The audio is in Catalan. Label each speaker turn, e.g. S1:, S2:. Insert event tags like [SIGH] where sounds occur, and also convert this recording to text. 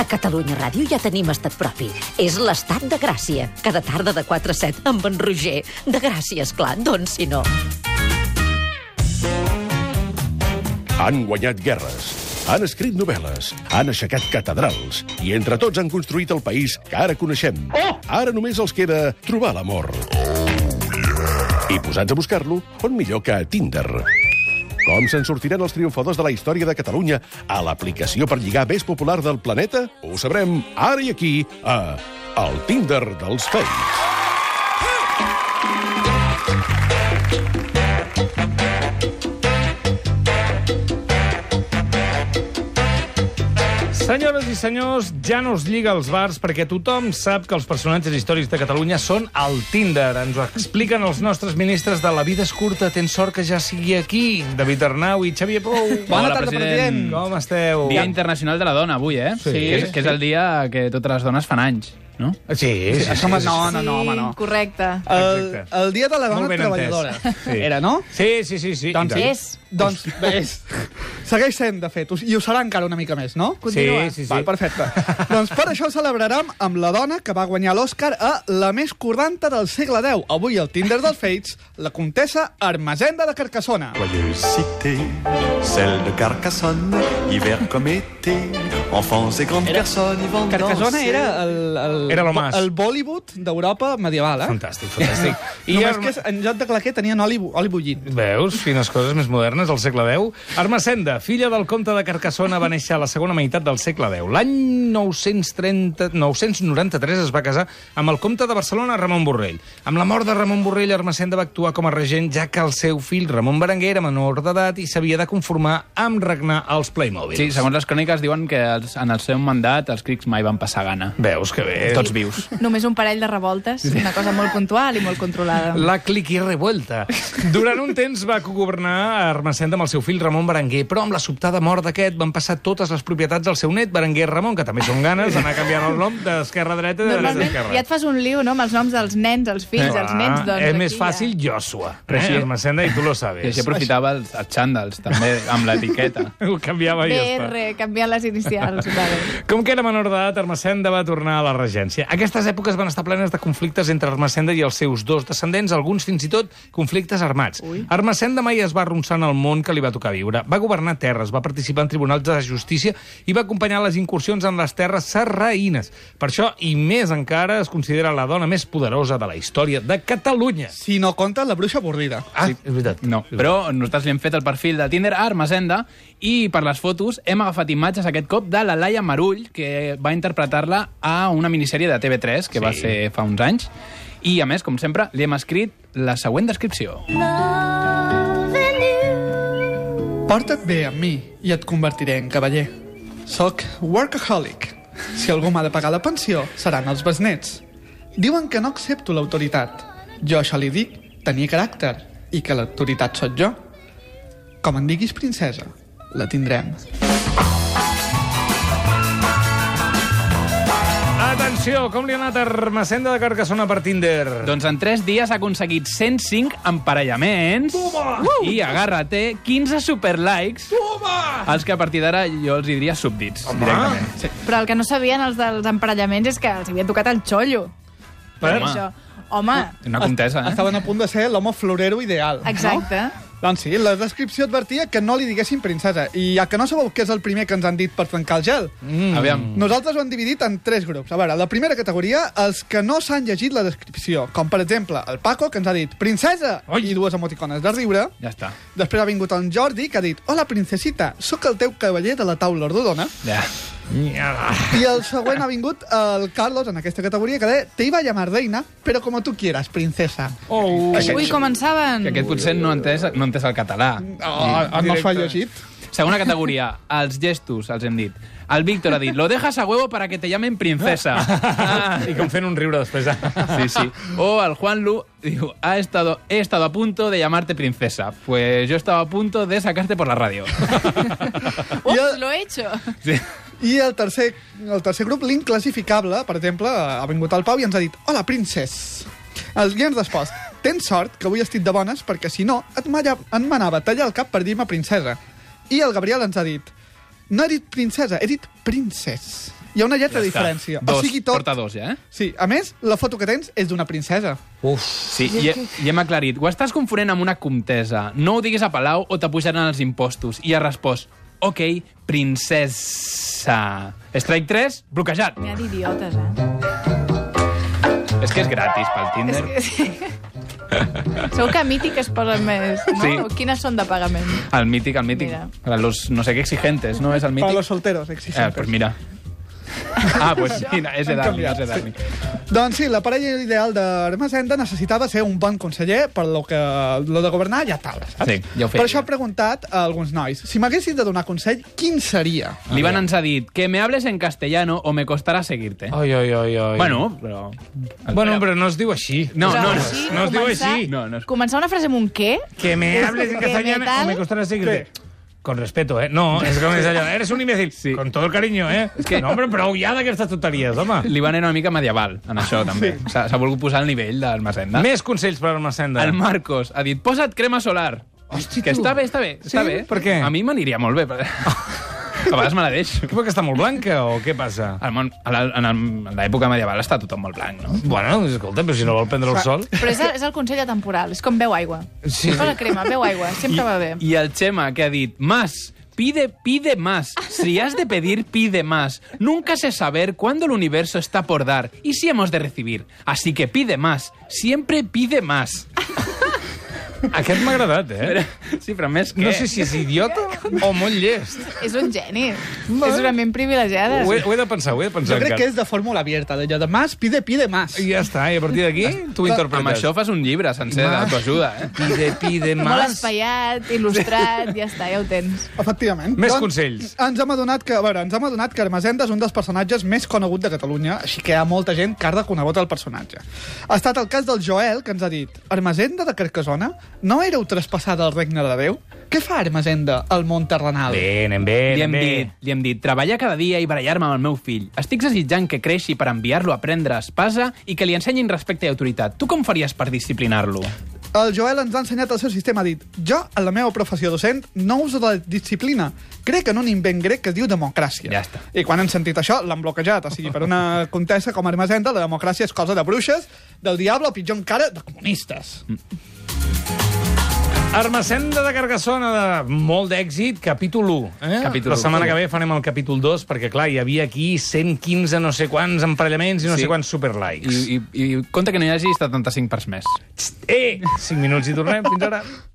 S1: A Catalunya Ràdio ja tenim estat propi. És l'estat de Gràcia. Cada tarda de 4 a 7 amb en Roger. De Gràcia, esclar, doncs si no.
S2: Han guanyat guerres, han escrit novel·les, han aixecat catedrals i entre tots han construït el país que ara coneixem. Ara només els queda trobar l'amor. I posats a buscar-lo, on millor que a Tinder. Com se'n sortiran els triomfadors de la història de Catalunya a l'aplicació per lligar més popular del planeta? Ho sabrem ara i aquí, a El Tinder dels Fakes.
S3: Senyores i senyors, ja no us lliga els bars perquè tothom sap que els personatges històrics de Catalunya són al Tinder. Ens ho expliquen els nostres ministres de La vida és curta, tens sort que ja sigui aquí. David Arnau i Xavier Pou.
S4: Bona Hola, tarda, president. president.
S3: Com esteu?
S4: Dia Internacional de la Dona, avui, eh? Sí. Que és, que és el dia que totes les dones fan anys, no?
S3: Sí, sí, sí.
S4: Home, no, no, no, home, no.
S5: correcte.
S6: El,
S3: Exacte.
S6: el dia de la dona
S3: Molt ben
S6: treballadora.
S3: entès. Sí.
S6: Era, no?
S3: Sí, sí, sí. sí.
S6: Doncs
S3: I tant.
S5: És.
S6: Doncs
S3: [LAUGHS]
S6: és. Segueix sent, de fet, i ho serà encara una mica més, no?
S3: Continua. Sí, sí, sí.
S6: Val,
S3: [LAUGHS]
S6: perfecte. doncs per això celebrarem amb la dona que va guanyar l'Oscar a La més cordanta del segle X. Avui al Tinder dels Fates, la comtessa Armesenda de Carcassona.
S3: Doncs,
S7: Joyeuse cité, celle de Carcassonne, hiver comme été, enfants et grandes personnes y vont
S6: Carcassona
S7: danser.
S6: era el, el,
S3: Era lo más.
S6: el Bollywood d'Europa medieval, eh?
S3: Fantàstic, fantàstic.
S6: I [LAUGHS] Només
S3: Arma-
S6: que en lloc de claquer tenien oli, oli bullint.
S3: Veus? Quines coses més modernes al segle X. Armacenda, filla del comte de Carcassona, va néixer a la segona meitat del segle X. L'any 930 993 es va casar amb el comte de Barcelona, Ramon Borrell. Amb la mort de Ramon Borrell, Armacenda va actuar com a regent, ja que el seu fill, Ramon Berenguer, era menor d'edat i s'havia de conformar amb regnar als Playmobil.
S4: Sí, segons les cròniques diuen que els, en el seu mandat els crics mai van passar gana.
S3: Veus que bé.
S4: Tots vius.
S5: Només un parell de revoltes, una cosa molt puntual i molt controlada.
S3: La cliqui revuelta. Durant un temps va governar a Armacenda amb el seu fill Ramon Berenguer, però amb la sobtada mort d'aquest van passar totes les propietats al seu net Berenguer Ramon, que també són ganes d'anar canviant el nom d'esquerra a dreta i de dreta a
S5: Normalment
S3: esquerra.
S5: ja et fas un lío, no?, amb els noms dels nens, els fills, els nens, doncs...
S3: Ah, és
S5: aquí
S3: més
S5: ja.
S3: fàcil Joshua, eh?
S4: Però així-
S3: Armacenda, i tu lo
S4: I
S3: sabes.
S4: així aprofitava els, els xandals, també, amb l'etiqueta.
S3: Ho canviava i ja està.
S5: BR, canviant les inicials. [LAUGHS] vale.
S3: Com que era menor d'edat, Armacenda va tornar a la regència. Aquestes èpoques van estar plenes de conflictes entre Armacenda i els seus dos descendents, alguns fins i tot conflictes armats. Ui. Armacenda mai es va arronsar en el món que li va tocar viure. Va governar terres, va participar en tribunals de justícia i va acompanyar les incursions en les terres serraïnes. Per això, i més encara, es considera la dona més poderosa de la història de Catalunya.
S6: Si no compta la bruixa avorrida.
S3: Ah, sí, és veritat.
S4: [LAUGHS] No, però nosaltres li hem fet el perfil de Tinder a Armesenda i per les fotos hem agafat imatges aquest cop de la Laia Marull, que va interpretar-la a una minissèrie de TV3 que sí. va ser fa uns anys. I, a més, com sempre, li hem escrit la següent descripció.
S6: Porta't bé amb mi i et convertiré en cavaller. Soc workaholic. Si algú m'ha de pagar la pensió, seran els besnets. Diuen que no accepto l'autoritat. Jo això li dic tenir caràcter i que l'autoritat sóc jo. Com en diguis princesa, la tindrem.
S3: Atenció, com li ha anat a Armacenda de Carcassona per Tinder?
S4: Doncs en 3 dies ha aconseguit 105 emparellaments i, agarra-te, 15 superlikes, els que a partir d'ara jo els hi diria súbdits.
S3: Directament.
S5: Però el que no sabien els dels emparellaments és que els havia tocat el xollo.
S3: Per?
S5: Home. Això. Home,
S4: Una contesa, eh?
S6: Estaven a punt de ser l'home florero ideal.
S5: exacte.
S6: No? Doncs sí, la descripció advertia que no li diguessin princesa. I ja que no sabeu què és el primer que ens han dit per trencar el gel,
S4: Mm. Aviam,
S6: Nosaltres ho hem dividit en tres grups. A veure, la primera categoria, els que no s'han llegit la descripció, com per exemple el Paco, que ens ha dit princesa
S3: Ai.
S6: i dues emoticones de riure.
S4: ja està.
S6: Després ha vingut el Jordi, que ha dit hola princesita, sóc el teu cavaller de la taula ordodona.
S4: Ja.
S6: I el següent ha vingut el Carlos, en aquesta categoria, que deia te iba a llamar reina, però com tu quieras, princesa.
S3: Oh.
S5: Ui, començaven.
S4: Que aquest potser no ha entès, no ha entès el català.
S6: Oh, no s'ho ha llegit.
S4: Segona categoria, els gestos, els hem dit. El Víctor ha dit, lo dejas a huevo para que te llamen princesa. Ah,
S3: [LAUGHS] I com fent un riure després. eh?
S4: Sí, sí. O el Juan Lu diu, ha estado, he estado a punto de llamarte princesa. Pues yo estaba a punto de sacarte por la
S6: [LAUGHS]
S4: radio.
S5: Ups, lo he hecho.
S4: Sí.
S6: I el tercer, el tercer grup, l'inclassificable, per exemple, ha vingut al Pau i ens ha dit Hola, princes. El Guillem d'Espost, tens sort que avui estic de bones perquè si no et, malla, et manava a tallar el cap per dir-me princesa. I el Gabriel ens ha dit No he dit princesa, he dit princes. I hi ha una lletra de
S4: està.
S6: diferència.
S4: Dos,
S6: o sigui, tot...
S4: porta dos, ja, eh?
S6: Sí, a més, la foto que tens és d'una princesa.
S4: Sí, i, he- i hem aclarit. Ho estàs confonent amb una comtesa. No ho diguis a Palau o t'apujaran els impostos. I ha respost, ok, princesa. Strike 3, bloquejat.
S5: N'hi ha d'idiotes, eh?
S4: És que és gratis pel Tinder.
S5: Segur que a Mític es posen més, no?
S4: Sí.
S5: Sí. Quines són de pagament?
S4: El mític, el mític.
S5: Mira.
S4: Los no sé qué exigentes, ¿no? És el
S6: Para los
S4: mític?
S6: solteros,
S4: Eh,
S6: exigentes.
S4: pues mira. Ah, pues mira, és de
S6: Han
S4: Darni,
S6: canviat,
S4: és de Darni.
S6: Doncs sí, la parella ideal d'Hermesenda necessitava ser un bon conseller per lo, que, lo de governar ja tal, saps?
S4: Sí, ja ho feia.
S6: Per això he preguntat a alguns nois, si m'haguessin de donar consell, quin seria?
S4: L'Ivan ens ha dit que me hables en castellano o me costará seguirte.
S3: Ai, ai, ai, ai.
S4: Bueno, però...
S3: bueno, però no es diu així.
S4: No, no, no.
S5: Sí,
S3: no es diu
S5: començar-
S3: així.
S4: No, no es-
S5: Començar una frase amb un què?
S3: Que me hables en
S5: Que
S3: castellano
S5: me tal.
S3: o me costará seguirte. Con respeto, ¿eh? No, es como es allá. Eres un imbécil. Con todo el cariño, ¿eh? Es
S4: que-
S3: que... No, hombre, prou ja d'aquestes tonteries, home.
S4: L'Ivan era una mica medieval, en
S3: Ah,
S4: això, també. S'ha s'ha volgut posar al nivell del Masenda.
S3: Més consells per al Macenda.
S4: El Marcos ha dit, posa't crema solar. Hosti, que està bé, està bé, està
S3: Sí?
S4: bé.
S3: Per què?
S4: A mi m'aniria molt bé.
S3: [LAUGHS]
S4: però- A vegades me la deixo.
S3: Que perquè està molt blanca o què passa?
S4: Al món, a la- en el- en l'època medieval està tothom molt blanc, no?
S3: Bueno, escolta, però si no vol prendre el sol...
S5: Però és el, és el consell atemporal, és com beu aigua.
S3: Sí.
S5: Sí. Posa crema, beu aigua, sempre va bé.
S4: Y al Chema que ha dit, más, pide, pide más. Si has de pedir, pide más. Nunca sé saber cuándo el universo está por dar y si hemos de recibir. Así que pide más. Siempre pide más.
S3: Eh? Aquest m'ha agradat, eh?
S4: Sí, però més que...
S3: No sé si és idiota o molt llest.
S5: És un geni. És una ment privilegiada.
S3: Ho he, ho he de pensar, ho he de
S6: Jo
S3: pensar
S6: crec que
S3: encara.
S6: és de fórmula abierta, d'allò de más pide, pide más.
S3: I ja està, i a partir d'aquí tu interpretes.
S4: Amb això fas un llibre sencer
S3: Mas.
S4: d'autoajuda, eh?
S3: Pide, pide
S5: Molt
S3: más...
S5: espaiat, il·lustrat, ja està, ja ho tens.
S6: Efectivament. Doncs
S3: Més consells.
S6: Ens hem adonat que, a veure, ens hem adonat que Hermesenda és un dels personatges més conegut de Catalunya, així que hi ha molta gent que ha reconegut el personatge. Ha estat el cas del Joel, que ens ha dit Hermesenda de Carcassona? No éreu traspassada al regne de Déu? Què fa Hermesenda al món terrenal?
S3: Bé, anem bé,
S4: Li hem,
S3: anem bé.
S4: dit, li hem dit, treballar cada dia i barallar-me amb el meu fill. Estic desitjant que creixi per enviar-lo a aprendre espasa i que li ensenyin respecte i autoritat. Tu com faries per disciplinar-lo?
S6: El Joel ens ha ensenyat el seu sistema, ha dit Jo, en la meva professió docent, no uso de la disciplina. Crec en un invent grec que es diu democràcia.
S4: Ja està.
S6: I quan han sentit això, l'han bloquejat. O sigui, per una contessa com Hermesenda, la democràcia és cosa de bruixes, del diable, o pitjor encara, de comunistes.
S3: Armacenda de Carcassona, de molt d'èxit, capítol 1. Eh?
S4: Capítol
S3: la
S4: u.
S3: setmana que ve farem el capítol 2, perquè, clar, hi havia aquí 115 no sé quants emparellaments i no
S4: Sí.
S3: sí. sé quants superlikes. I,
S4: I, i, i compte que no hi hagi 75 parts més.
S3: Eh! 5 minuts i tornem. Fins ara.